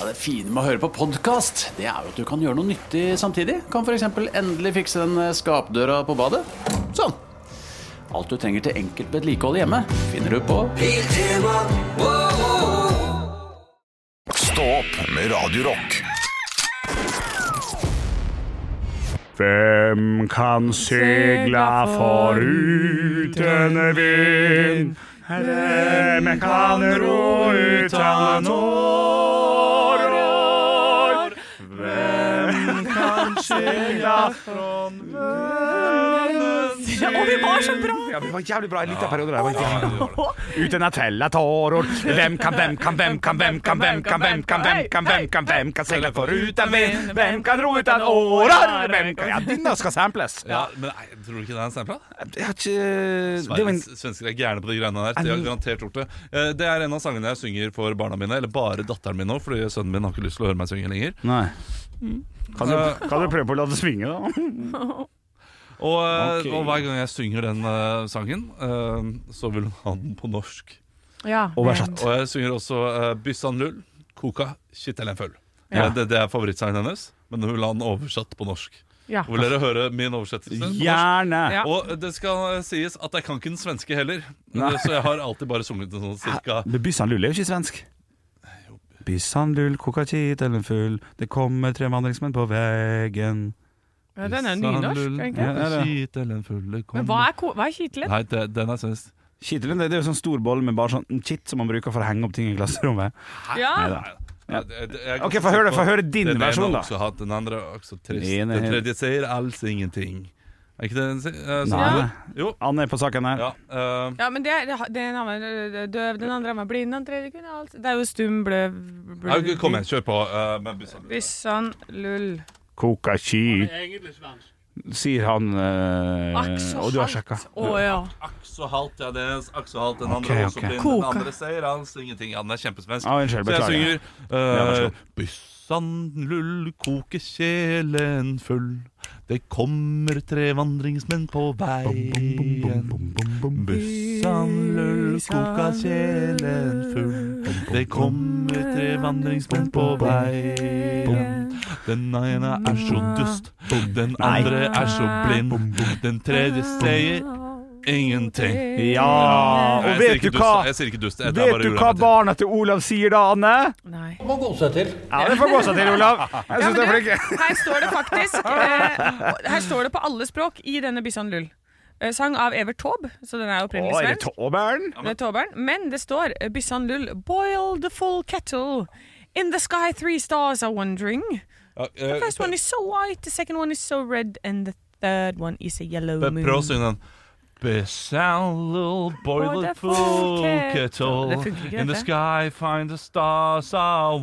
Ja, det fine med å høre på podkast, det er jo at du kan gjøre noe nyttig samtidig. Kan f.eks. endelig fikse den eh, skapdøra på badet. Sånn. Alt du trenger til enkelt vedlikehold hjemme, finner du på Stå opp med Radio Rock. Hvem kan segla foruten vind? Hvem kan ro uten åror? Hvem kan segla from vennens Å, vi var så bra! Ja, vi var jævlig bra i en liten periode der. var jævlig bra. Uten at fella tårer. Hvem kan, hvem kan, hvem kan, hvem kan, hvem kan, hvem kan, hvem kan, hvem kan, hvem kan seile foruten vind? Hvem kan ro uten årer? Hvem kan Ja, denne skal samples. Ja, men nei, Tror du ikke det er en sampla? Jeg har ikke det var en, Svensker er gærne på de greiene der. De har garantert gjort det. Eh, Det er en av sangene jeg synger for barna mine, eller bare datteren min nå, fordi sønnen min har ikke lyst til å høre meg synge lenger. Nei. Kan du, Eh, kan du prøve å la det svinge, da? Og, eh, Ok. og hver gang jeg synger den eh, sangen, eh, så vil hun ha den på norsk. Ja. Oversatt. Og jeg synger også uh, Byssan lull, koka, kittel en føl. Ja. Eh, Det, det er favorittsangen hennes, men hun vil ha den oversatt på norsk. Ja. Vil dere høre min oversettelse? på norsk? Gjerne. Ja. Og det skal sies at jeg kan ikke den svenske heller, Nei. så jeg har alltid bare sunget den sånn cirka Men Byssanlull er jo ikke svensk. Byssanlull, kokakit eller full, det kommer tre vandringsmenn på veggen. Ja, den er nynorsk, egentlig. Ja, det er det. Men hva er, ko- hva er kitelen? Nei, det, den er svensk. Kittelen det er jo sånn stor boll med bare sånn kitt som man bruker for å henge opp ting i klasserommet. Ja. Neida. Ja. Det- det- jeg- Ok, få høre- få høre din den versjon, ene da. har også hatt, den andre har også trist. Den ene Den er- tredje sier alls ingenting. Er ikke det den sier? Eh, så- Nei. Ja. Jo. Anne er på saken her. Ja, eh, Ja, men det er, den ene var døv, den andre var blind, den tredje kunne alt Det er jo stum, bløv, ja, ok, kom igjen, kjør på. eh, med bussen. Byssan, lull Kokakit Sier han eh, Aks Og du har sjekka. Å ja. Akk så halt, ja, det er akk så halt. Den andre Ok, er også ok. blind. Koka. Den andre sier alls ingenting. Ja, den er kjempesvensk. Ja, unnskyld, Så jeg beklager. synger vær så uh, god. Byssan lull, koke kjelen full. Det kommer tre vandringsmenn på veien. Bussan lull, koka kjelen full. Det kommer tre vandringsmenn på veien. Den ene er så dust, den andre er så blind. Den tredje sier ingenting. Nei, Ja, og jeg sier vet ikke du dust, hva? Jeg sier ikke dust. Det er Vet bare du hva urettferdig. barna til Olav sier da, Anne? Nei. Ja, det får gå seg til, Olav. Jeg Ja, syns men du er du, flink. her står det faktisk eh, Her står det på alle språk i denne Byssan, lull. Eh, sang av Evert Taube, så den er opprinnelig Å, er det svensk. Tåbern? Det er Tauberen. Men det står eh, Byssan, lull, boil the full kettle. In the sky three stars are wondering. Ja, eh, First one is so white, the second one is so red, and the third one is a yellow pr- moon. eh, Prøv å synge den. Besound little boiler full kettle Det funker ikke, In the dette. sky find the stars are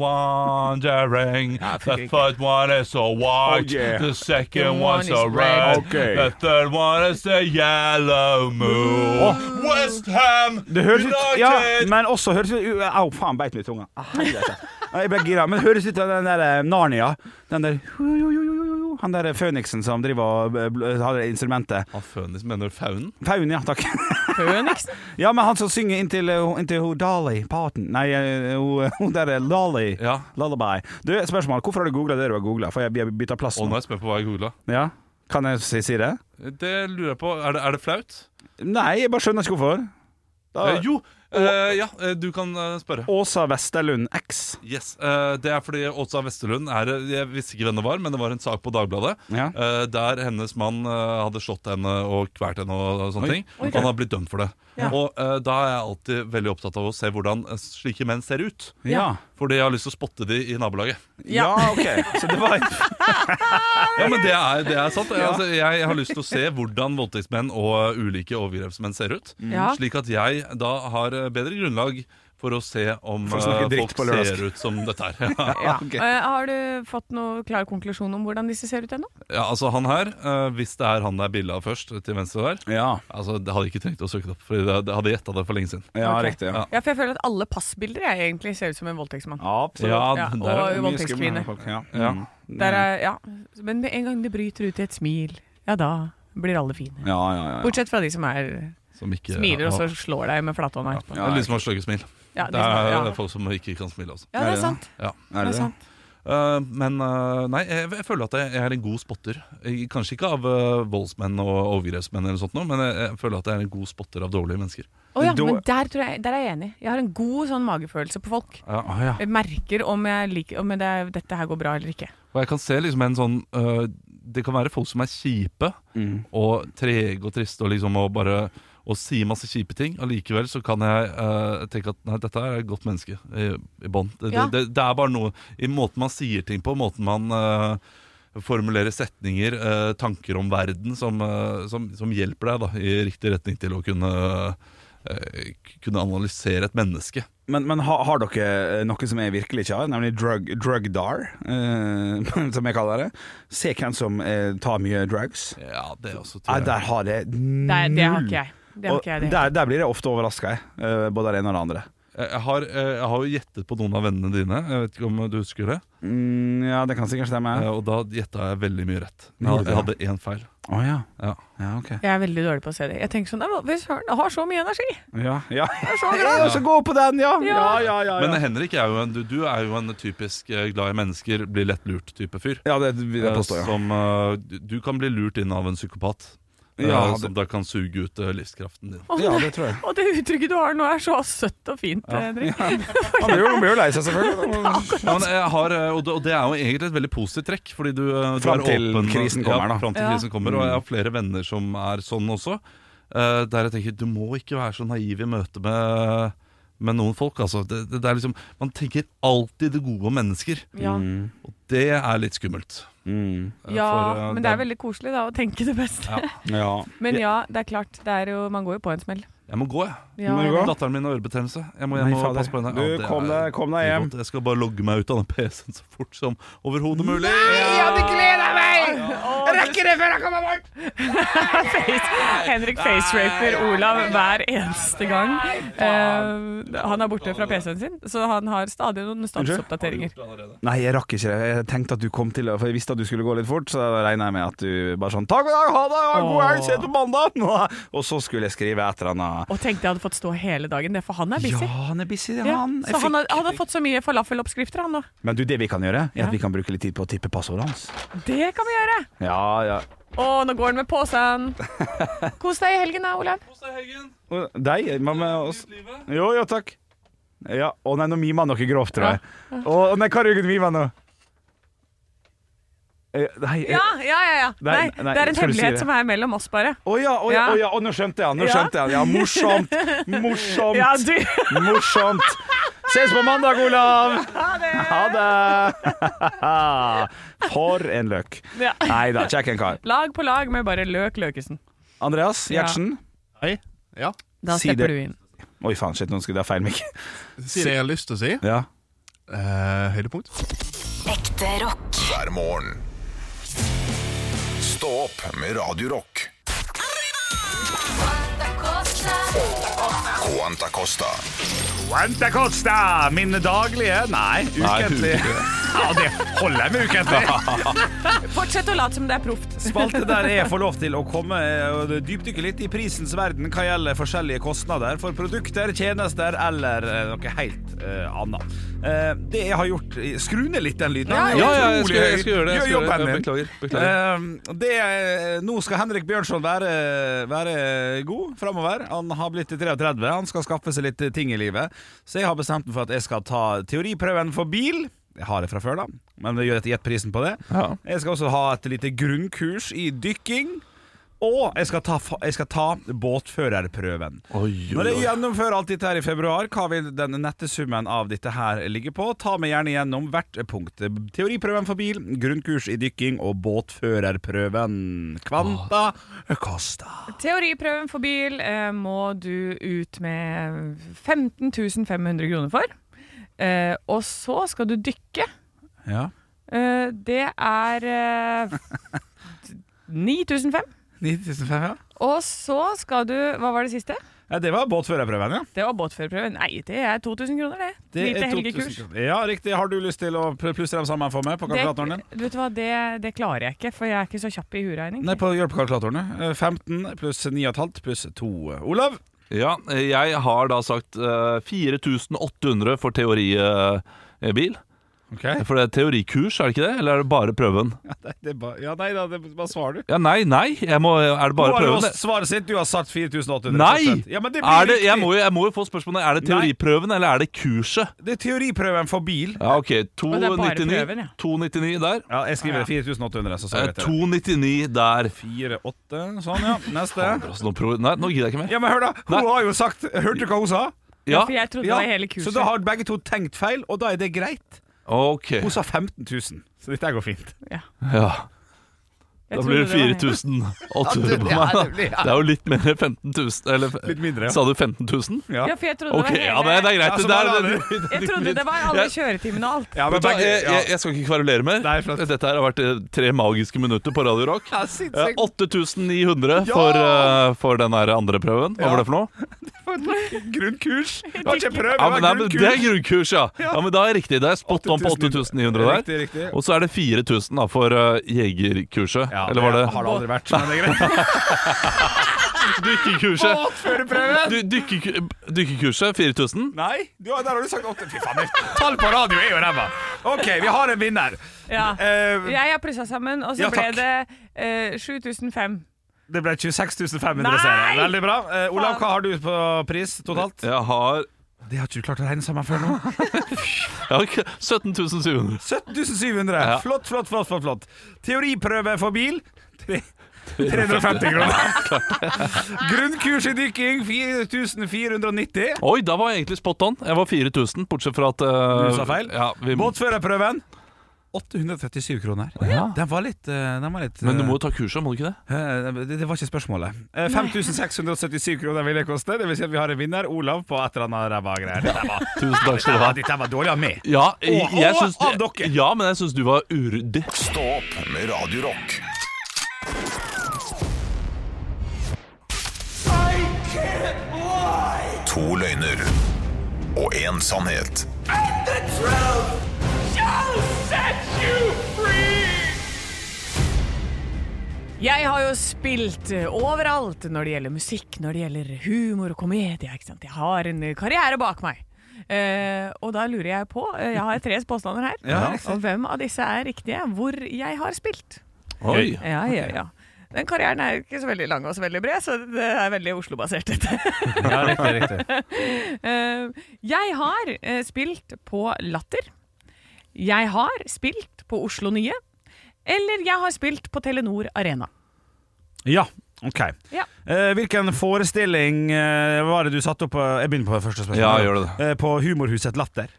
wandering The funker first one is so white Oh, yeah. The The second one's one so is red red. Okay. The third one is the yellow moon West Ham Det høres ut Ja, United. men også høres ut Au, faen, beit meg i tunga. Ah, helvete. Jeg ble gira. Men det høres ut som den der eh, Narnia. Den der Han der føniksen som driver og eh, bl- har det instrumentet. Ah, Fønis mener du faunen? Faun, ja, takk. Phoenixen. Ja, men han som synger inntil, eh, hun- inntil hun Dolly Parton Nei, eh, hun hun der eh, Lolly. Ja. Lullaby. Du, spørsmål. Hvorfor har du googla det du har googla? For jeg bytta plass Å, nå nå. er jeg spent på hva jeg googla. Ja. Kan jeg si, si det? Det lurer jeg på. Er det, er det flaut? Nei, jeg bare skjønner ikke hvorfor. Da, Eh, jo, eh, ja, eh, du kan eh, spørre. Åsa Westerlund X. Yes, eh, Det er fordi Åsa Westerlund er eh, Jeg visste ikke hvem det var, men det var en sak på Dagbladet. Ja. eh, Der hennes mann eh, hadde slått henne og kvalt henne og sånne ting. Og han har blitt dømt for det. Og eh, da er jeg alltid veldig opptatt av å se hvordan eh, slike menn ser ut. Ja. Fordi jeg har lyst til å spotte de i nabolaget. Ja, ok. Så det var et Ja, men det er, det er sant. Jeg, altså, jeg har lyst til å se hvordan voldtektsmenn og ulike overgrepsmenn ser ut. Ja. Slik at jeg da har eh, bedre grunnlag for å se om For å snakke eh, dritt folk på lørdag. ser ut som dette her. Ja. Ja. Ok. Eh, har du fått noen klar konklusjon om hvordan disse ser ut ennå? Ja, altså han her, eh, hvis det er han det er bilde av først, til venstre der Ja, Altså, det hadde jeg ikke trengt å søke det opp, for det, det hadde jeg gjetta det for lenge siden. ja Ok. riktig. Ja. Ja, for jeg føler at alle passbilder jeg egentlig ser ut som en voldtektsmann. absolutt. Ja, det og er jo mye voldtektskvinne. folk, ja. Ja. Mm. Der er, ja. Men med en gang det bryter ut i et smil, ja da blir alle fine. Ja, ja, ja. Bortsett fra de som er Som ikke smiler og så Ja, slår deg med flathånda etterpå. ja, liksom har sløye smil. Ja, sånn. Det er folk som ikke kan smile, altså. Ja, det er sant. Ja. Det Er er det det? sant. Eh, men eh, nei, jeg, jeg føler at jeg, jeg er en god spotter. Jeg- Kanskje ikke av eh, voldsmenn og overgrepsmenn, eller sånt noe, men jeg, jeg føler at jeg er en god spotter av dårlige mennesker. Å ja, Da- men der, tror jeg, der er jeg enig. Jeg har en god sånn magefølelse på folk. ah, Jeg merker om, jeg liker, om det, dette her går bra eller ikke. Og jeg kan se liksom en sånn eh, Det kan være folk som er kjipe Mm. og trege og triste og liksom og bare og sier masse kjipe ting. Allikevel så kan jeg eh, tenke at nei, dette er et godt menneske i, i bånn. Det, Ja. det, det er bare noe i måten man sier ting på, måten man eh, formulerer setninger, eh, tanker om verden, som, eh, som, som hjelper deg da, i riktig retning til å kunne, eh, k- kunne analysere et menneske. Men, men har, har dere eh, noe som jeg virkelig ikke har, nemlig drug, drug dar, eh, som jeg kaller det? Se hvem som eh, tar mye drugs. Ja, det er også Nei, tror jeg. der har jeg null. Det, er- det har ikke jeg. Det har Og ikke jeg det. der, der blir jeg ofte overraska, jeg. eh, både det ene og det andre. Jeg jeg har, eh, jeg har jo gjettet på noen av vennene dine. Jeg vet ikke om du husker det. Mm, ja, det kan sikkert stemme. Eh, Og da gjetta jeg veldig mye rett. Jeg Gjorde du hadde, jeg det? hadde én feil. Å ja. Ja. Ja, ok. Jeg er veldig dårlig på å se det. Jeg tenker sånn, «Nei, hva- fy søren, jeg har så mye energi! Ja, ja. Jeg er så glad! ja så gå på den, ja! Ja. Ja, ja, ja. ja. Men eh, Henrik er jo en, du, du er jo en typisk eh, glad i mennesker, blir lett lurt-type fyr. ja det vil jeg Eh, påstå, ja. Som, eh, du- du kan bli lurt inn av en psykopat. eh, Ja, det- Som da kan suge ut eh, livskraften din. Å, Ja, nei. det tror jeg. Og det uttrykket du har nå, er så søtt og fint, eh, Henrik. Han blir jo, han blir jo lei seg, selvfølgelig. Ja, men jeg har, eh, og, det, og det er jo egentlig et veldig positivt trekk. Fordi du, eh, du Fram er til åpen, krisen ja, kommer, da. Mm. Fram til Ja. krisen kommer, og jeg har flere venner som er sånn også. eh, der jeg tenker du må ikke være så naiv i møte med, med noen folk. Altså. Det, det, det er liksom, man tenker alltid det gode om mennesker, Ja. og det er litt skummelt. Mm. Eh, for, ja, eh, men det er veldig koselig da, å tenke det beste. Ja. Men ja, det er klart, det er jo, man går jo på en smell. Jeg må gå, jeg. Ja, Men det går. Datteren min har ørebetennelse. Jeg må Nei, hjem og fader. passe på henne. Du, det kom er deg- kom deg veldig hjem. godt. Jeg skal bare logge meg ut av den PC-en så fort som overhodet mulig. Henrik faceraper Olav hver eneste gang. Eh, han er borte fra PC-en sin, så han har stadig noen statusoppdateringer. Nei, jeg rakk ikke det. Jeg tenkte at du kom til å- For jeg visste at du skulle gå litt fort, så da regna jeg med at du bare sånn 'Takk for i dag, ha det, ha en god helg, ses på mandag!' Og så skulle jeg skrive et eller annet. Og tenkte jeg hadde fått stå hele dagen, det er for han er Ja, busy. han er busy, det er Ja, han. Jeg så han fikk- har, han har fått så mye falafeloppskrifter, han nå. Men du, det vi kan gjøre, er Ja. at vi kan bruke litt tid på å tippe passordet hans. Det kan vi gjøre! Ja, ja. Å, nå går han med posen. Kos deg i helgen da, Olav. Og Deg? Hva med oss? Jo, jo, takk. Ja. Å nei, nå mima han noe grovt, tror jeg. Å nei, hva er det du mimer nå? Eh, Nei, eh, Ja, ja, ja. ja. Nei, Nei, nei, det er en skal du si hemmelighet det? som er mellom oss, bare. Å ja, å ja, Ja. å ja, å, nå skjønte jeg han. Nå Ja. skjønte jeg han. Ja, morsomt. Morsomt. Ja, du. Morsomt. Ses på mandag, Olav! Ha det! For en løk. Ja. Nei da, kjekk en kar. Lag på lag med bare Løk Løkesen. Andreas Gjertsen. Hei. Ja. Da Si stepper det. du inn. Oi, faen, shit, nå skulle jeg ha feil mikk. Si det jeg har lyst til å si. Ja. Eh, høydepunkt. Ekte rock. hver morgen. Stå opp med Radio Rock. Quanta Costa. Quanta Costa, min daglige Nei, ukentlig. Ja, det holder jeg med ukentlig. Fortsett å late som det er proft. Spalte der jeg får lov til å komme eh, og dypdykke litt i prisens verden hva gjelder forskjellige kostnader for produkter, tjenester eller eh, noe helt eh, annet. Eh, det jeg har gjort Skru ned litt den lyden. Den er Ja, ja, jeg utrolig skulle, høy. jeg skulle gjøre det. Jeg Gjør skulle, jobben gjøre det. din. beklager. beklager. Eh, det, er- nå skal Henrik Bjørnson være, være god framover. Han har blitt 33, han skal skaffe seg litt ting i livet. Så jeg har bestemt meg for at jeg skal ta teoriprøven for bil. Jeg har det fra før, da, men det gjør at jeg gjett prisen på det. Ja. Jeg skal også ha et lite grunnkurs i dykking. Og jeg skal ta, fa- jeg skal ta båtførerprøven. Oi, Når oi, jeg oi. gjennomfører alt dette her i februar, hva vil den nette summen av dette her ligge på? Ta meg gjerne gjennom hvert punkt. Teoriprøven for bil, grunnkurs i dykking og båtførerprøven. Kvanta Costa. Teoriprøven for bil eh, må du ut med 15 500 kroner for. Eh, og så skal du dykke. Ja. Eh, det er eh, 9500. 9500, ja. Og så skal du Hva var det siste? ja. Det var båtførerprøven, ja. Det var båtførerprøven. Nei, det er 2000 kroner, det. Det Lite er 2000 helgekurs. kroner. Ja, riktig. Har du lyst til å plusse dem sammen for meg på kalkulatoren Det, din? vet du hva, det, det klarer jeg ikke, for jeg er ikke så kjapp i huregning. Nei, på, gjør på kalkulatoren. ja. Eh, 15 pluss 9,5 pluss 2. Olav? Ja, jeg har da sagt eh, 4800 for teoribil. Ok For det er teorikurs, er det ikke det? Eller er det bare prøven? Nei, det er bare, ja, nei da, det er bare svar, du. Ja, nei, nei. Jeg må, er det Nå bare har du prøven? også svaret sitt. Du har sagt 4800. Nei! Ja, men det blir Er det, jeg, riktig. må, jo- jeg må jo få spørsmålet Er det teoriprøven, eller er det kurset? Det er teoriprøven for bil. Ja, ok. Og det er bare 299 prøven, ja. 299 der. Ja, jeg skriver 4800, så så Eh, vet jeg 299 det. der. 48, sånn, ja. Neste. Fader, altså, nå prøver- Nei, nå gidder jeg ikke mer. Ja, men hør, da. Hun Nei. har jo sagt Hørte du hva hun sa? Ja, For jeg trodde det var hele kurset. Så da har begge to tenkt feil, og da er det greit. ok. Hun sa 15 000, så dette går fint. Ja. Jeg Da trodde blir det det var- 4800 på meg. da. Det er jo litt mer enn 15 000. Eller Litt mindre, ja. sa du 15 000? Ja, for jeg trodde Ok, det Sånn. ja, var det, hele det er greit. Altså, Det er- bare la det- det- Jeg trodde det var alle kjøretimene og alt. Ja, men Vet du hva, begge, jeg, ja. jeg, jeg skal ikke kverulere mer. Nei, flott. Dette her har vært eh, tre magiske minutter på Radio Rock. Ja, Eh, sinnssykt. 8900 for, eh, for den her andre prøven. Hva Ja. var det for noe? Grunnkurs! Det var ikke en prøve, Ja, men, det nei, var men grunnkurs. Det er grunnkurs, ja. ja men Da er riktig. Det er spot on på 8900 Riktig, der. riktig. Og så er det 4000 da for eh, jegerkurset. Ja, Eller var det Har det aldri vært, men det er greit. dykkerkurset? Båtførerprøve! Du- dykkerku- Dykkerkurset 4000. Nei, du, har- der har du sagt 8 Fy faen, det- tall på radio er jo ræva! OK, vi har en vinner. Ja. Eh, Jeg har plussa sammen, og så Ja, ble takk. det eh, 7005. det ble 26 500 Nei! seere. Veldig bra. Eh, Olav, hva har du på pris totalt? Jeg har Det har ikke du klart å regne sammen før nå. jeg har ikke- 17700. 7700. Ja. Flott, flott, flott, flott, flott. Teoriprøve for bil. Tre- 350 kroner. Grunnkurs i dykking 4490. Oi, da var jeg egentlig spot on. Jeg var 4000, bortsett fra at eh, Du sa feil. Ja, vi, Båtførerprøven 837 kroner. Den var litt, eh, den var litt men du eh, må jo ta kurset, må du ikke det? Eh, Det, det var ikke spørsmålet. Eh, 5677 kroner vil det koste. Det vil si at vi har en vinner, Olav, på et eller annet ræva greier. Dette var- Tusen takk skal du ha. Dette var dårlig av meg. Ja, jeg, Og- jeg og syns av dere. Ja, men jeg syns du var uryddig. Stå opp med Radio Rock. To løgner og én sannhet. Jeg har jo spilt eh, overalt når det gjelder musikk, når det gjelder humor og komedie. ikke sant? Jeg har en eh, karriere bak meg. Eh, og da lurer jeg på eh, Jeg har tre påstander her. og hvem av disse er riktige? Hvor jeg har spilt? Oi. Ja, ja, ja. Den karrieren er ikke så veldig lang og så veldig bred, så det er veldig Oslo-basert, dette. Ja, riktig, riktig. Eh, jeg har eh, spilt på Latter. Jeg har spilt på Oslo Nye. Eller jeg har spilt på Telenor Arena. Ja, OK. Ja. Eh, hvilken forestilling eh, var det du satte opp på Jeg begynner på det første spørsmålet. Ja, gjør Eh, på Humorhuset Latter.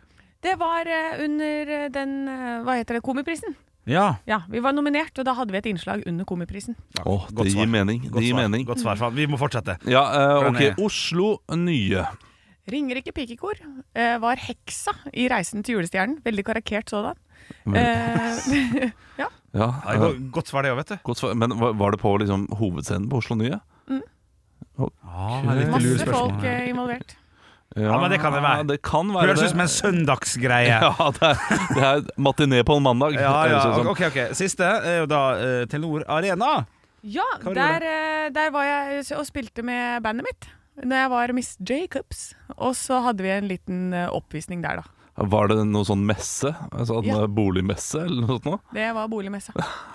Det var eh, under eh, den eh, Hva heter det? Komiprisen. Ja. Ja, vi var nominert, og da hadde vi et innslag under Komiprisen. Åh, godt det svar. gir mening. Godt Det gir svar. mening. Godt svar. faen. Vi må fortsette. Ja, eh, Den ok. Oslo nye. Ringerike pikekor eh, var heksa i 'Reisen til julestjernen'. Veldig karaktert sådan. Eh, Ja, Ja, eh, go- Godt svar, det òg, vet du. godt svar. Men var var det på liksom, hovedscenen på Oslo nye? Ah, masse folk eh, involvert. Ja, men det kan det være. Det kan være Høres det. ut som en søndagsgreie. ja, det er, det er matiné på en mandag. Ja, høres ut ja, som. ok, ok Siste er jo da eh, Telenor Arena. Ja, Hva var det der, eh, der var jeg s- og spilte med bandet mitt. Når jeg var Miss Jacobs. Og så hadde vi en liten eh, oppvisning der, da. Var det noe sånn messe? Altså, en, Ja. eh, Boligmesse eller noe sånt? nå? Det var boligmessa.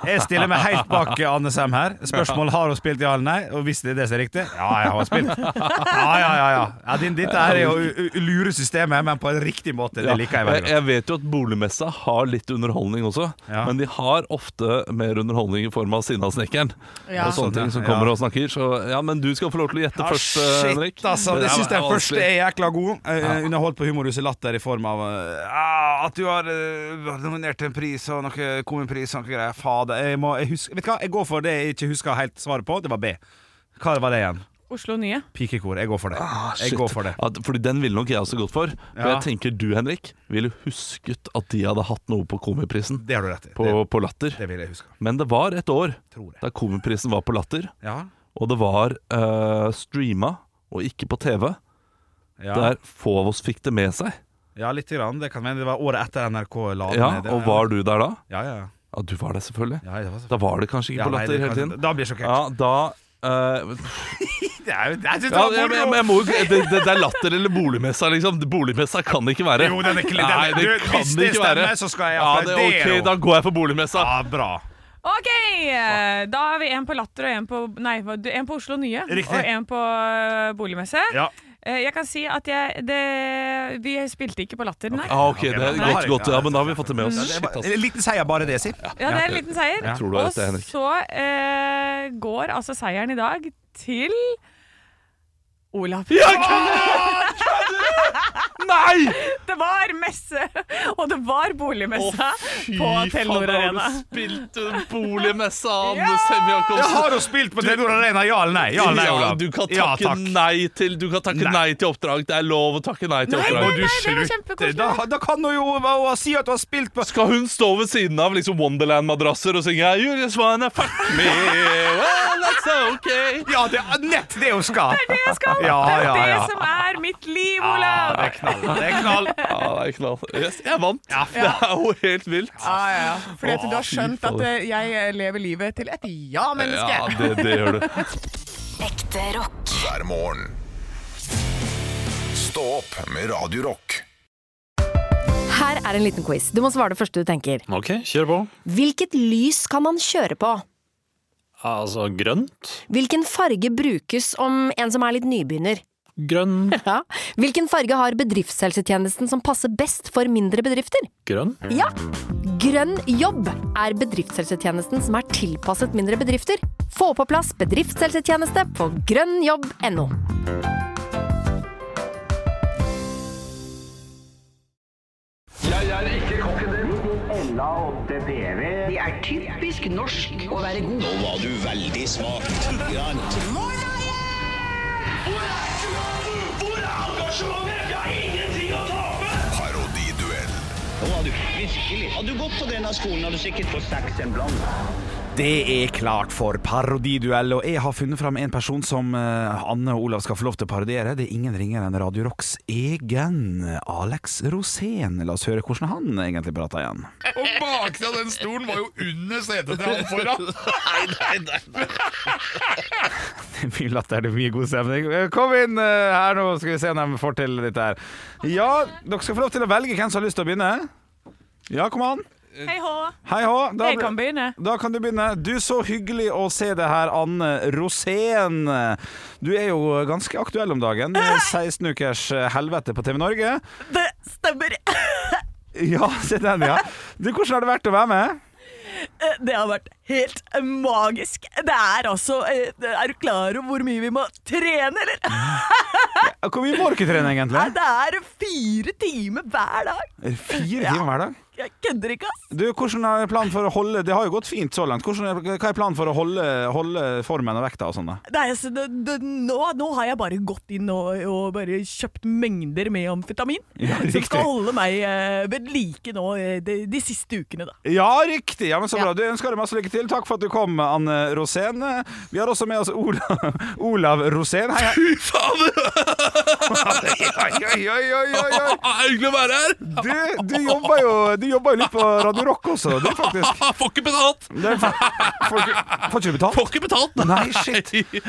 Jeg stiller meg helt bak Anne Sem her. Spørsmål har hun spilt ja eller nei, og hvis det er det som er riktig Ja, jeg har spilt. Ja, ja, ja. ja. ja din, dette her er jo å u- lure systemet, men på en riktig måte. Det liker jeg jeg, veldig godt. jeg vet jo at boligmessa har litt underholdning også, Ja. men de har ofte mer underholdning i form av Sinnasnekkeren. Ja. Og sånne ting som kommer og snakker. Så ja, men du skal få lov til å gjette Ja, først, eh, Henrik. Ah, shit, altså. Det er- syns jeg er først vanskelig. er jækla god. Eh, underholdt på Humorhuset Latter i form av eh, ah, at du har eh, nominert til en pris og noe kommunepris og noe greier. Fader. Jeg, må, jeg, husker, vet du hva? jeg går for det jeg ikke husker helt svaret på. Det var B. Hva var det igjen? Oslo Nye. Pikekor. Jeg går for det. Ah, Shit. Jeg går for det. At, fordi Den ville nok jeg også gått for. For Ja. jeg tenker du, Henrik, ville husket at de hadde hatt noe på Komiprisen. Det har du rett i. På, Det, på Latter. det vil jeg huske. Men det var et år Tror jeg. da Komiprisen var på Latter, Ja. og det var eh, streama og ikke på TV, Ja. der få av oss fikk det med seg. ja, litt. Grann. Det kan hende det var året etter NRK la Ja, ned. Og var du der da? Ja, ja. Ja, du var der selvfølgelig. ja, ja det var så- Da var det kanskje ikke Ja, på nei, Latter det hele kan- tiden. Da blir jeg sjokkert. Ja, da eh, det er jo Jeg synes det Ja, var ja, men, moro. men jeg må, jo- det, det, det er latter eller boligmessa, liksom. Boligmessa kan det ikke være. Jo, den er ikke- den- Nei, det du, kan det hvis det ikke være. stemmer, så skal jeg ja, det, applaudere ok, henne. Ah, Da går jeg for boligmessa. Ja, bra. Ok, eh, da har vi en på Latter og en på, nei, hva- en på Oslo Nye Riktig. og en på eh, boligmesse. Ja. Eh, Jeg kan si at jeg, det, vi spilte ikke på Latter, nei. Ah, ok, Ok, det er da har godt, jeg- godt. ja, Ja, men da har vi fått det med oss. Ja, Shit, det var, ass. en liten seier bare det, si. Ja, det er en liten seier. Jeg tror du har rett, og Henrik. så eh, går altså seieren i dag til Olav. Ja, kødder du?! Nei! Det var messe, og det var boligmessa på Telenor da har Arena. du spilt en boligmessa, Anne Ja! Jeg Sem-Jacobsen. har jo spilt på Telenor Arena, ja eller nei? Ja eller nei, Olav? du kan Ja, takke, takk. nei, til, du kan takke Nei. nei. til oppdrag. Det er lov å takke nei til Nei, oppdrag. Må nei, nei, du det var slutte? kjempekoselig. Da, da kan du jo å, å si at du har spilt på Skal hun stå ved siden av liksom Wonderland-madrasser og synge You just wanna fuck me, well, that's okay Ja, det er nett det hun skal! Det jeg skal! Ja, det er ja, ja. det som er mitt liv, Ah, Olav! det er knall. Det er knall. Ja, det er knall. Yes, jeg vant. Det er jo helt vilt. Ja, ja, ja. Fordi at du har Å, fy skjønt at fader. eh, jeg lever livet til et ja-menneske. Ja, det, det gjør du. Ekte rock. hver morgen. Stå opp med Radio Rock. Her er en liten quiz. Du må svare det første du tenker. Ok, kjør på. Hvilket lys kan man kjøre på? Altså grønt. Hvilken farge brukes om en som er litt nybegynner? Grønn. Ja. Hvilken farge har bedriftshelsetjenesten som passer best for mindre bedrifter? Grønn. Ja! Grønn jobb er bedriftshelsetjenesten som er tilpasset mindre bedrifter. Få på plass bedriftshelsetjeneste på grønnjobb.no. Parodiduell Det er klart for parodiduell, og jeg har funnet fram en person som eh, Anne og Olav skal få lov til å parodiere. Det er ingen ringere enn Radio Rocks egen Alex Rosén. La oss høre hvordan han egentlig prater igjen. Og baksida av den stolen var jo under setet til han foran. Det er mye latter, det er mye god stemning. Eh, Kom inn eh, her nå, skal vi se om de får til dette her. Ja, dere skal få lov til å velge hvem som har lyst til å begynne. Ja, kom an. Hei hå! Hei hå. Da- Jeg kan begynne. Da kan du begynne. Du, så hyggelig å se deg her, Anne Rosén. Du er jo ganske aktuell om dagen. 16 ukers eh, helvete på TV Norge. Det stemmer. Ja, se den, ja. Du, hvordan har det vært å være med? Det har vært helt magisk. Det er altså Er du klar over hvor mye vi må trene, eller? Hvor mye må dere trene, egentlig? Det er fire timer hver dag. Fire timer hver dag? Jeg kødder ikke, ass. Du, hvordan er planen for å holde Det har jo gått fint så langt. Hvordan er, hva er planen for å holde, holde formen og vekta og sånn? da? Nei, altså, det, det, nå, nå har jeg bare gått inn og, og bare kjøpt mengder med amfetamin. Ja, som riktig. skal holde meg eh, ved like nå eh, de, de siste ukene, da. Ja, riktig! Ja, men Så bra. Du ønsker deg masse lykke til. Takk for at du kom, Anne Rosén. Vi har også med oss Olav, Olav Rosén. Hei, hei. Fy fader! Oi, oi, oi, oi, oi, oi. Ah, Hyggelig å være her! Du, du, jobber jo, du jobber jo litt på Radio Rock også, du faktisk. Ah, Får ikke betalt! Det er, får, ikke- får ikke du betalt? Får ikke betalt! Nei, shit. Jeg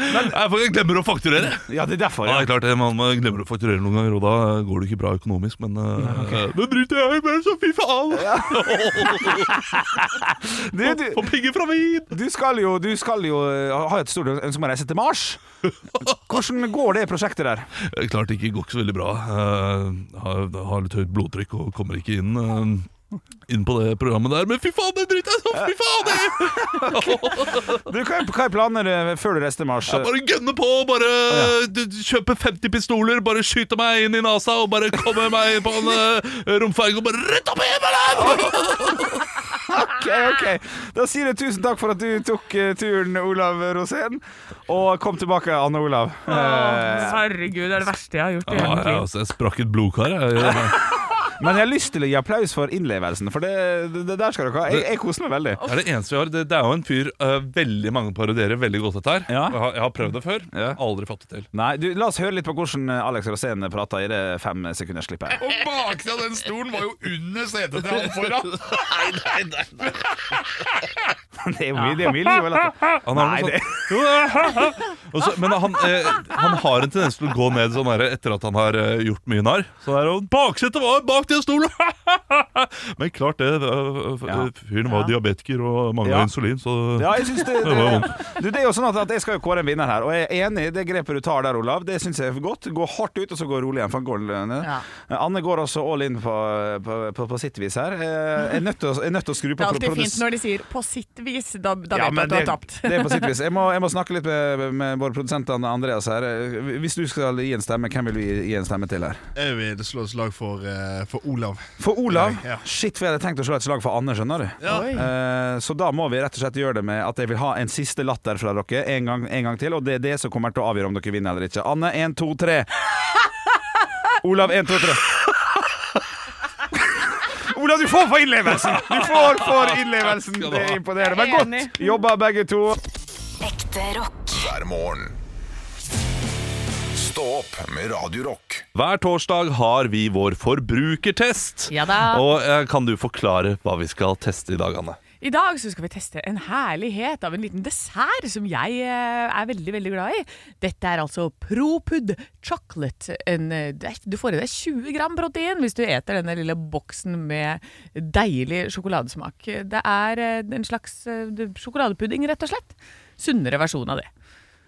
får- jeg glemmer å fakturere. Ja, det er derfor. Ja, Ja. det er klart, det, man, man glemmer å fakturere noen ganger, og da eh, går det ikke bra økonomisk, men eh, Det driter jeg i, men så fy faen! Du, du, Få penger fra min! du skal jo, du skal jo eh, ha et stort ønske om å reise til Mars. Hvordan går det prosjektet der? Eh, Klart det ikke går ikke så veldig bra. Eh, har, har litt høyt blodtrykk og kommer ikke inn. eh, inn på det programmet der, men fy faen, det driter jeg i! så Fy faen! Jeg, Du, hva er, hva er planer eh, før du reiser til Mars? jeg bare gønner på! Bare d- d- kjøpe 50 pistoler, bare skyte meg inn i nesa og bare komme meg inn på en eh, romferge og bare rett opp i himmelen! Ok, Eh, ok. Da sier jeg tusen takk for at du tok eh, turen, Olav Rosén. Og kom tilbake, Anne Olav. Eh, herregud, det er det verste jeg har gjort i Ja, jeg, altså, jeg sprakk et blodkar, jeg. Men jeg har lyst til å gi applaus for innlevelsen, for det, det, det der skal dere ha. Jeg, jeg koser meg veldig. Det er det eneste vi har. Det, det er jo en fyr øh, veldig mange parodierer veldig godt dette her. Ja. Jeg, har, jeg har prøvd det før. Ja. Aldri fått det til. Nei, du, La oss høre litt på hvordan Alex Rosén prata i det femsekundersklippet. her. Og baksida av den stolen var jo under setet til han foran. Det er jo mye, det er jo mye liv. eller? Han har Nei, noe sånn- det- sånt- Og så- men han, eh, han har en tendens til å gå ned sånn der, etter at han har eh, gjort mye narr. Så der, og Baksetet var bak den stolen! men klart det. eh, f- Ja. Fyren var diabetiker og mangla Ja. insulin, så Ja, jeg synes Det det, var vondt. det, du, det er jo sånn at, at Jeg skal jo kåre en vinner her, og jeg er enig i det grepet du tar der, Olav. Det syns jeg er godt. Gå hardt ut, og så gå rolig igjen. For han går ned. Ja. Anne går også all in på, på, på, på sitt vis her. Eh, Jeg er nødt til å, jeg er nødt til å skru på Det er alltid pro- produs- fint når de sier 'på sitt vis', da, da Ja, vet du men at du har det- tapt. Det er på sitt vis. Jeg må, jeg må snakke litt med, med vår produsent Anne Andreas her. Eh, Hvis du skal gi en stemme, hvem vil du gi- gi en stemme til her? Jeg vil slå et slag for, eh, for Olav. For Olav Ja. Shit, for jeg hadde tenkt å slå et slag for Anne, skjønner du. Eh, så da må vi rett og slett gjøre det med at jeg vil ha en siste latter fra dere en gang, en gang til. Og det er det som kommer til å avgjøre om dere vinner eller ikke. Anne, én, to, tre. Olav, én, to, tre. Olav, du får for innlevelsen! Du får for innlevelsen. Det er imponerende. Men Enig. godt jobba, begge to. Ekte rock. hver morgen. Stå opp med Radio Rock. Hver torsdag har vi vår forbrukertest. Ja da. Og eh, kan du forklare hva vi skal teste i dag, Anne? I dag så skal vi teste en herlighet av en liten dessert som jeg eh, er veldig veldig glad i. Dette er altså ProPud chocolate. En, eh, det er- du får i deg 20 gram protein hvis du eter denne lille boksen med deilig sjokoladesmak. Det er eh, en slags eh, sjokoladepudding, rett og slett. Sunnere versjon av det.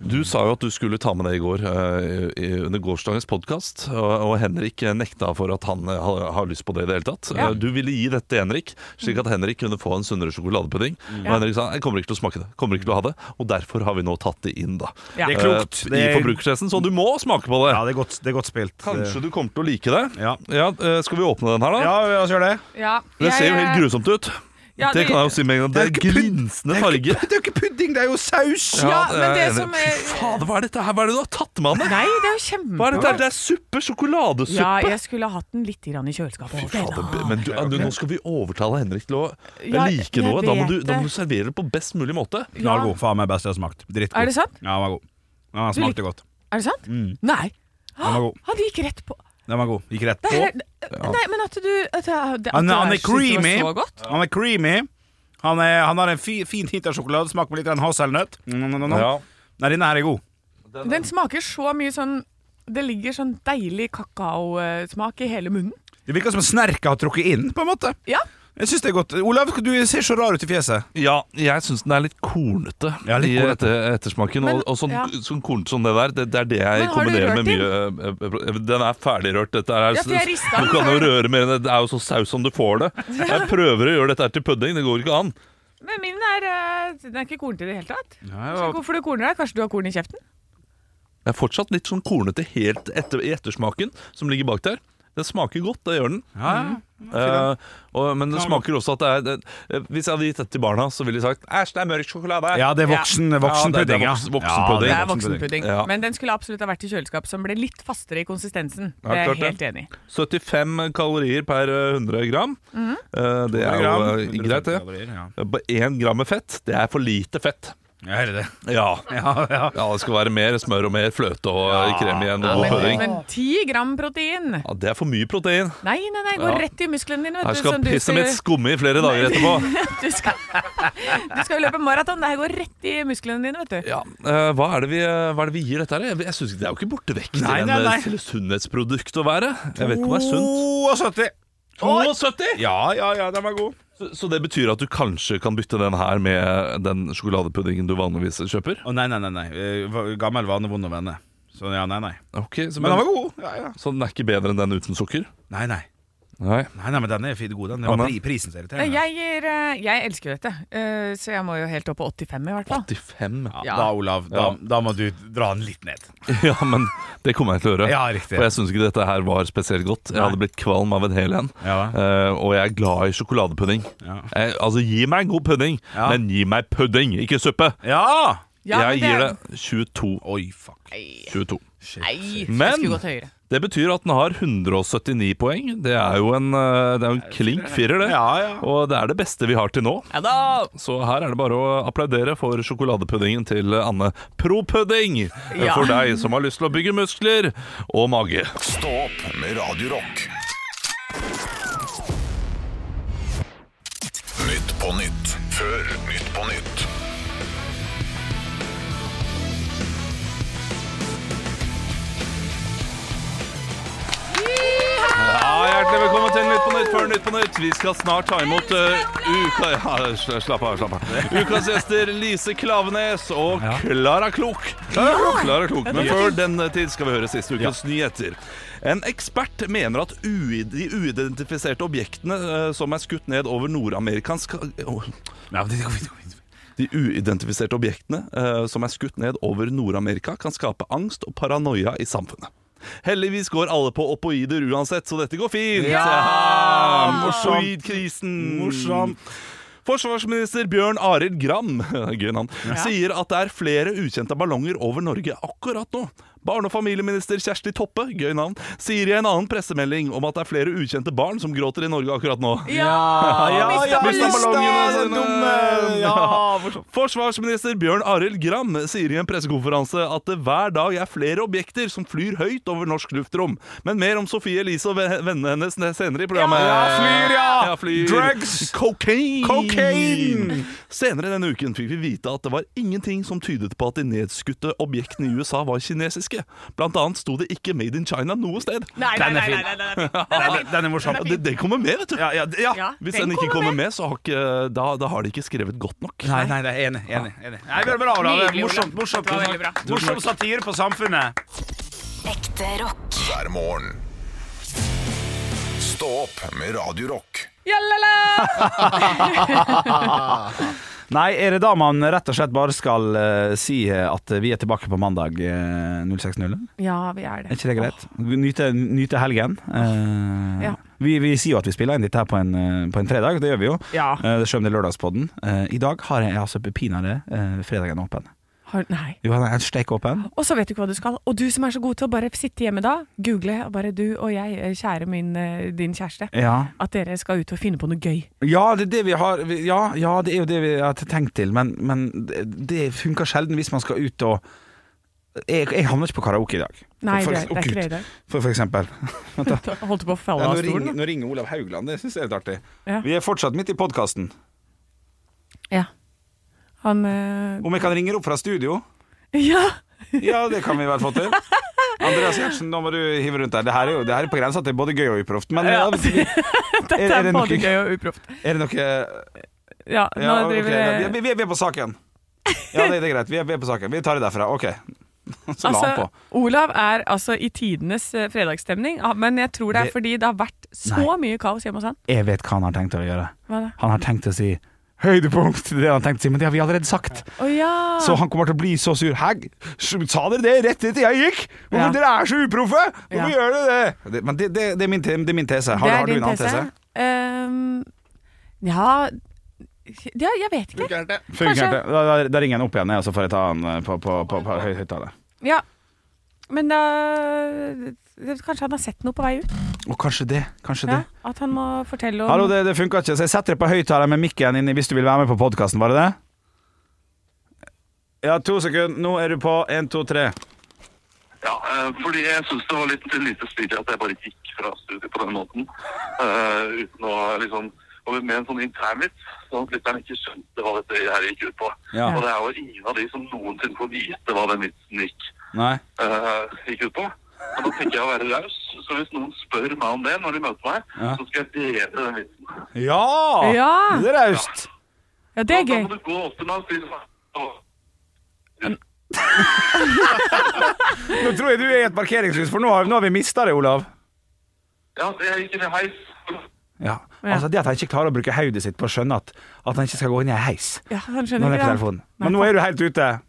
Du sa jo at du skulle ta med det i går eh, i- under gårsdagens podkast, og, og Henrik eh, nekta for at han eh, har, har lyst på det i det hele tatt. Ja. Mm. Eh, Du ville gi dette til Henrik, slik at Henrik kunne få en sunnere sjokoladepudding. Og Henrik sa jeg kommer ikke til å smake det, kommer ikke til å ha det, og derfor har vi nå tatt det inn, da. Ja. Det er klokt. Eh, Det er- I forbrukertesten, så du må smake på det. Ja, det er godt, det er godt spilt. Kanskje du kommer til å like det. Ja. eh, skal vi åpne den her, da? Ja, la oss gjøre det. Ja, eh, Det ser jo helt grusomt ut. Ja, det, det- kan jeg jo si med en gang. Det Det er er ikke pud- glinsende farge. Det er jo ikke pudding, det er jo saus! Ja, det men er det jeg som enig i. er- Fy fader, hva er dette her? Hva er det du har tatt med, Anne? Nei, det er jo kjempebra. Hva er dette her? Det er suppe! Sjokoladesuppe! Ja, jeg skulle ha hatt den litt grann i kjøleskapet. Fader, be- men du, du, nå skal vi overtale Henrik til å Ja, like jeg noe. Da må, vet du, da det. må du servere det på best mulig måte. Knallgod. Faen meg best jeg har smakt. Drittgod. Er det sant? Ja, den var god. Den var- smakte lik- godt. Er det sant? Nei. Den var god. Han gikk rett på. Den var god. Gikk rett Det på. er, Nei, men at du at, at, at Han, du han er synes det var creamy. Så godt. Han er creamy. Han, er, han har en fi, fin hint av sjokolade. Smak på litt av en hasselnøtt. Mm, mm, mm, mm. Ja. Nei, denne her er god. Den smaker så mye sånn Det ligger sånn deilig kakaosmak i hele munnen. Det virker som snerket har trukket inn, på en måte. Ja. Jeg synes det er godt. Olav, du ser så rar ut i fjeset. Ja, jeg syns den er litt kornete Ja, litt i kornete. etter, ettersmaken. Men- og, og sånn, ja. sånn kornete som det der, det, det er det jeg Men har du kombinerer rørt med mye eh, eh, Den er ferdigrørt. Dette er, Ja, for jeg ristet den du kan jo før. røre mer enn det. Det er jo så saus som du får det. Jeg prøver å gjøre dette her til pudding, det går ikke an. Men min er eh, Den er ikke kornete i det hele tatt. Så hvorfor du korner deg? Kanskje du har korn i kjeften? Det er fortsatt litt sånn kornete helt etter, i ettersmaken som ligger bak der. Den smaker godt, det gjør den. Mm. Eh, og, men det smaker også at det er det, eh, Hvis jeg hadde gitt dette til barna, så ville de sagt Æsj, det er mørk sjokolade. Ja, det er voksen, voksenpudding. Ja, Ja, det er voks- voksenpudding. Det Ja, er voksenpudding. Ja. Men den skulle absolutt ha vært i kjøleskap, som ble litt fastere i konsistensen. Ja, Det er klart jeg det. helt enig i. 75 kalorier per eh, 100 gram. Mhm. Eh, det er jo eh, greit, det. Ja, På én gram med fett, det er for lite fett. Ja, er det det? Ja. Ja, ja. ja, det skal være mer smør og mer fløte og eh, krem igjen. Og god pudding. Men ti gram protein Ja, det er for mye protein. Nei, nei, nei, går Ja. rett i musklene dine. Her Vet du, skal sånn du pisset mitt skumme i flere dager etterpå. Du skal, du skal jo løpe maraton. Det her går rett i musklene dine, vet du. Ja, eh, hva, er det vi, eh, hva er det vi gir dette her? Jeg, jeg synes ikke Det er jo ikke borte vekk til Nei, en nei, eh, nei. til et sunnhetsprodukt å være. Jeg vet ikke om det er sunt. 72. 72! Ja, ja, ja, den var god. Så, så det betyr at du kanskje kan bytte den her med den sjokoladepuddingen du vanligvis kjøper? Å, nei, nei, nei. nei. Eh, Gammel vane, vond å vende. Så ja, nei, nei. Ok, så, Men men, den var god. Ja, ja. så den er ikke bedre enn den uten sukker? Nei, nei. Nei. Nei, nei, men den er fint god. Den Det var Anna? pri prisen som irriterer Nei, meg. Jeg, gir, eh, jeg elsker jo dette, eh, så jeg må jo helt opp på 85 i hvert fall. 85. Ja, Ja. Da, Olav, da, Ja. da må du dra den litt ned. Ja, men det kommer jeg til å gjøre. Ja, riktig. For jeg syns ikke dette her var spesielt godt. Jeg Nei. hadde blitt kvalm av en hel en. Ja. Eh, og jeg er glad i sjokoladepudding. Ja. Eh, altså, gi meg en god pudding, Ja. men gi meg pudding, ikke suppe! Ja! Ja, jeg men gir det det 22. Oi, fuck. Nei, 22. Nei, jeg Men- skulle gått høyere. Det betyr at den har 179 poeng. Det er jo en, eh, det er jo en klink firer, det. Og det er det beste vi har til nå. Ja da! Så her er det bare å applaudere for sjokoladepuddingen til Anne Propudding. Ja. For deg som har lyst til å bygge muskler og mage. Stå opp med Radio Rock. Nytt på nytt før Nytt på nytt. Ja, Hjertelig velkommen til Nytt på Nytt før Nytt på Nytt. Vi skal snart ta imot eh, uka... Ja, sl- slapp av, slapp av. Ukas gjester Lise Klavenes og Klara Klok. Klara Klok, Men før den eh, tid skal vi høre siste ukas nyheter. En ekspert mener at ui- de uidentifiserte objektene eh, som er skutt ned over nordamerikansk eh, Åh. De uidentifiserte objektene eh, som er skutt ned over Nord-Amerika, kan skape angst og paranoia i samfunnet. Heldigvis går alle på opoider uansett, så dette går fint! Ja! Opoidkrisen! Morsomt! Forsvarsminister Bjørn Arild Gram gøy navn, sier at det er flere ukjente ballonger over Norge akkurat nå. Barne- og familieminister Kjersti Toppe gøy navn, sier i en annen pressemelding om at det er flere ukjente barn som gråter i Norge akkurat nå. Ja! Ja, ja, Mista mistet ballongene sine. dumme- ja, Forsvarsminister Bjørn Arild Gram sier i en pressekonferanse at det hver dag er flere objekter som flyr høyt over norsk luftrom. Men mer om Sofie Elise og ve- vennene hennes ne- senere i programmet. Ja, flyr, ja. flyr. Drugs. Cocaine. Cocaine. Senere denne uken fikk vi vite at det var ingenting som tydet på at de nedskutte objektene i USA var kinesiske. Blant annet sto det ikke 'Made in China' noe sted. Nei, nei, Den er nei, fin. nei, nei, nei, nei. Den, den er morsom. Det, det kommer med, vet du. Ja, ja, ja. Ja, Hvis den, ikke kommer med, så har ikke, da, da har de ikke skrevet godt nok. Nei, nei, det er enig. enig, enig. Nei, det er bra, Olav. Det er Nydelig, Olav. Morsomt, morsomt, Det var veldig bra. morsomt. Morsom satire på samfunnet. Ekte rock. hver morgen. Stå opp med Radio Rock. Jalala! Nei, er det da man rett og slett bare skal eh, si at vi er tilbake på mandag eh, 06.00? Ja, vi er Er det. ikke det greit? Nyte, nyte helgen. Eh, Ja. vi, vi sier jo at vi spiller inn dette her på en, eh, på en fredag, det gjør vi jo. Ja. Eh, Selv om det er lørdagspodden. Eh, I dag har jeg altså pinadø eh, fredagen åpen. Har, nei. Jo, den er steik åpen. Og så vet du ikke hva du skal. Og du som er så god til å bare sitte hjemme da, google og bare du og jeg, eh, kjære min, eh, din kjæreste, Ja. at dere skal ut og finne på noe gøy. Ja, det er det vi har vi- Ja, ja det er jo det vi har tenkt til, men, men det- det funker sjelden hvis man skal ut og Jeg, jeg havner ikke på karaoke i dag. Nei, For- det, det å, er ikke Gud. det i dag. For, for eksempel. Holdt du på å falle nå, av ringer, stolen? nå ringer Olav Haugland, det syns jeg er litt artig. Ja. Vi er fortsatt midt i podkasten. Ja. Han eh, Om jeg kan ringe opp fra studio? Ja! Ja, det kan vi vel få til. Andreas Gjertsen, nå må du hive rundt der. Det her er jo det her er på grensa til både gøy og uproft. Men Ja. er, er, Det er det noe, både gøy og uproft. er det noe Ja, nå ja, ok, driver ja, jeg vi, vi, vi er på saken. Ja, det, det er greit. Vi er, vi er på saken. Vi tar det derfra. OK. Så la Altså- han på. Olav er altså i tidenes eh, fredagsstemning, ah, men jeg tror det er Det- fordi det har vært så mye kaos hjemme hos han. Jeg vet hva han har tenkt å gjøre. Hva da? Han har tenkt å si høydepunkt, det har han tenkt å si, men det har vi allerede sagt. Å ja! Så han kommer til å bli så sur. Hæ, sa dere det rett etter jeg gikk? Hvorfor Ja. dere er så uproffe? Hvorfor Ja. gjør dere det? det? Men det, det, det, er min, te- det er min tese. Har, det er har du din en annen tese? Ehm, ja Ja, jeg vet ikke. Funker det? Funker Kanskje. ikke. Da, da, da ringer han opp igjen, jeg, og så får jeg ta han eh, på, på, på, på høy, høyttaler. Ja. Men da Kanskje han har sett noe på vei ut? Og kanskje det. Kanskje Ja, at han må fortelle om Hallo, det, det funka ikke, så jeg setter det på høyttaler med mikken inni hvis du vil være med på podkasten, var det det? Ja, to sekunder. Nå er du på. Én, to, tre. Ja, eh, fordi jeg syns det var litt lite stilig at jeg bare gikk fra studiet på den måten. eh, uten å liksom og Med en sånn internvits, sånn at lytteren ikke skjønte hva dette her gikk ut på. Ja. Og det er jo ingen av de som noensinne får vite hva den vitsen gikk, Nei. eh, gikk ut på. Og da tenker jeg å være raus, så hvis noen spør meg om det når de møter meg, Ja. så skal jeg dele den vitsen. Ja! Ja. Det er raust. Ja, det er Da gøy. må du gå opp til meg og si sånn «Å, Nå tror jeg du er i et parkeringshus, for nå har, nå har vi mista det, Olav. É Ja, jeg gikk inn i heis. Ja. Altså Det at han ikke klarer å bruke hodet sitt på å skjønnne at, at han ikke skal gå inn i ei heis Ja, han når han skjønner er på ikke telefonen. Nei, Men nå er du helt ute.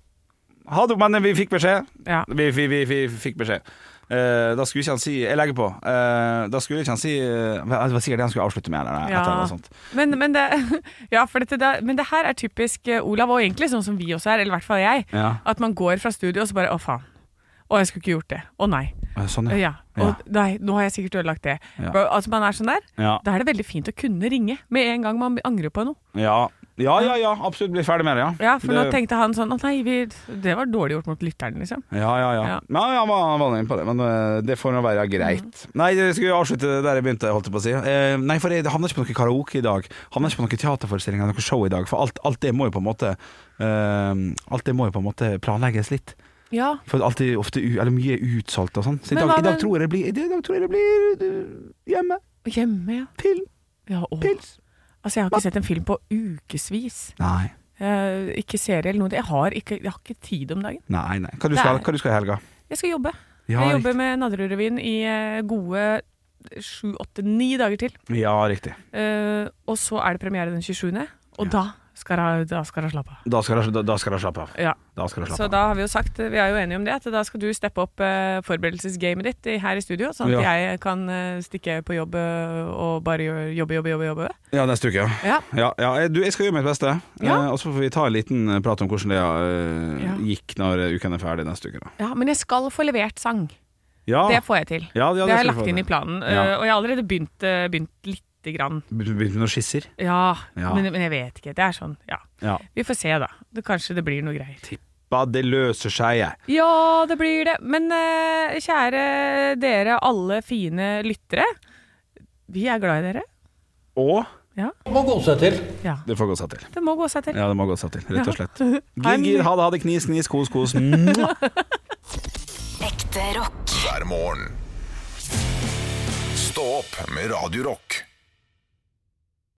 Ha det, men vi fikk beskjed. Ja. Vi, vi, vi, vi fikk beskjed. Eh, da skulle ikke han si Jeg legger på. Eh, da skulle ikke han si eh, Hva hva sier det han skulle avslutte med? Eller, et eller Ja. annet sånt. Men, men, det, ja for dette, da- men det her er typisk eh, Olav, og egentlig sånn som vi også er, eller i hvert fall jeg, Ja. at man går fra studio og så bare å faen. Å, jeg skulle ikke gjort det. Å nei. Ja, sånn, ja. ja. Og nei, nå har jeg sikkert ødelagt det. Ja. Bro, Altså, man er sånn der. Ja. Da er det veldig fint å kunne ringe med en gang man angrer på noe. Ja, ja, ja, ja absolutt. Bli ferdig med det, ja. Ja, for nå Det- tenkte han sånn Å nei, vi, det var dårlig gjort mot lytteren, liksom. Ja, ja, ja. Ja. Nei, han var, han var inne på det, men eh, det får nå være greit. Mhm. Nei, jeg skulle avslutte der jeg begynte, holdt jeg på å si. Eh, nei, for jeg havner ikke på noe karaoke i dag. Havner ikke på noen teaterforestilling eller noe show i dag. For alt, alt det må jo på en måte eh, Alt det må jo på en måte planlegges litt. Ja. For alt er ofte u, eller mye er utsolgt og sånn. Så i Men dag, hva i dag med- tror jeg det blir, i dag tror jeg det blir eh, hjemme. Hjemme, ja. Film. Ja, å. Altså, jeg har ikke sett en film på ukevis. Nei. Eh, ikke serie eller noe. Jeg har ikke, jeg har ikke tid om dagen. Nei, nei. Hva du Det skal er- hva du skal i helga? Jeg skal jobbe. Ja, jeg jobber med Nadderudrevyen i eh, gode sju, åtte, ni dager til. Ja, riktig. Eh, og så er det premiere den 27. Og da skal jeg- da skal jeg slappe av. Da skal jeg- da- da skal jeg slappe av. Ja. Da skal jeg slappe Så da har vi jo sagt, vi er jo enige om det, at da skal du steppe opp eh, forberedelsesgamet ditt i- her i studio, sånn Ja. at jeg kan eh, stikke på jobb eh, og bare gjøre- jobbe, jobbe, jobbe. jobbe. Ja, neste uke, ja. Ja. ja, ja. Jeg- Du, jeg skal gjøre mitt beste. Ja. Eh, og så får vi ta en liten eh, prat om hvordan det eh, Ja. gikk når eh, uken er ferdig neste uke. Da. Ja, men jeg skal få levert sang. Ja. Det får jeg til. Ah. Ja, ja, det det skal har jeg du få lagt inn til. i planen. eh, Ja. Og jeg har allerede begynt, eh, begynt lite grann. Begynte begynte med noen skisser. Ja, Ja. Men, men jeg vet ikke. Det er sånn, ja. Ja. Vi får se, da. Det, kanskje det blir noe greier. Ba, det løser seg, jeg. Ja, det blir det. Men eh, kjære dere, alle fine lyttere. Vi er glad i dere. Og Ja. Må gå seg til. Ja. Det får gå seg til. Det må gå seg til. Ja, det må gå seg til, rett og slett. Ja. Ha en- Gir, gir, ha det, ha det, knis, knis, kos, kos. Mwah. Ekte rock. hver morgen. Stå opp med Radio Rock.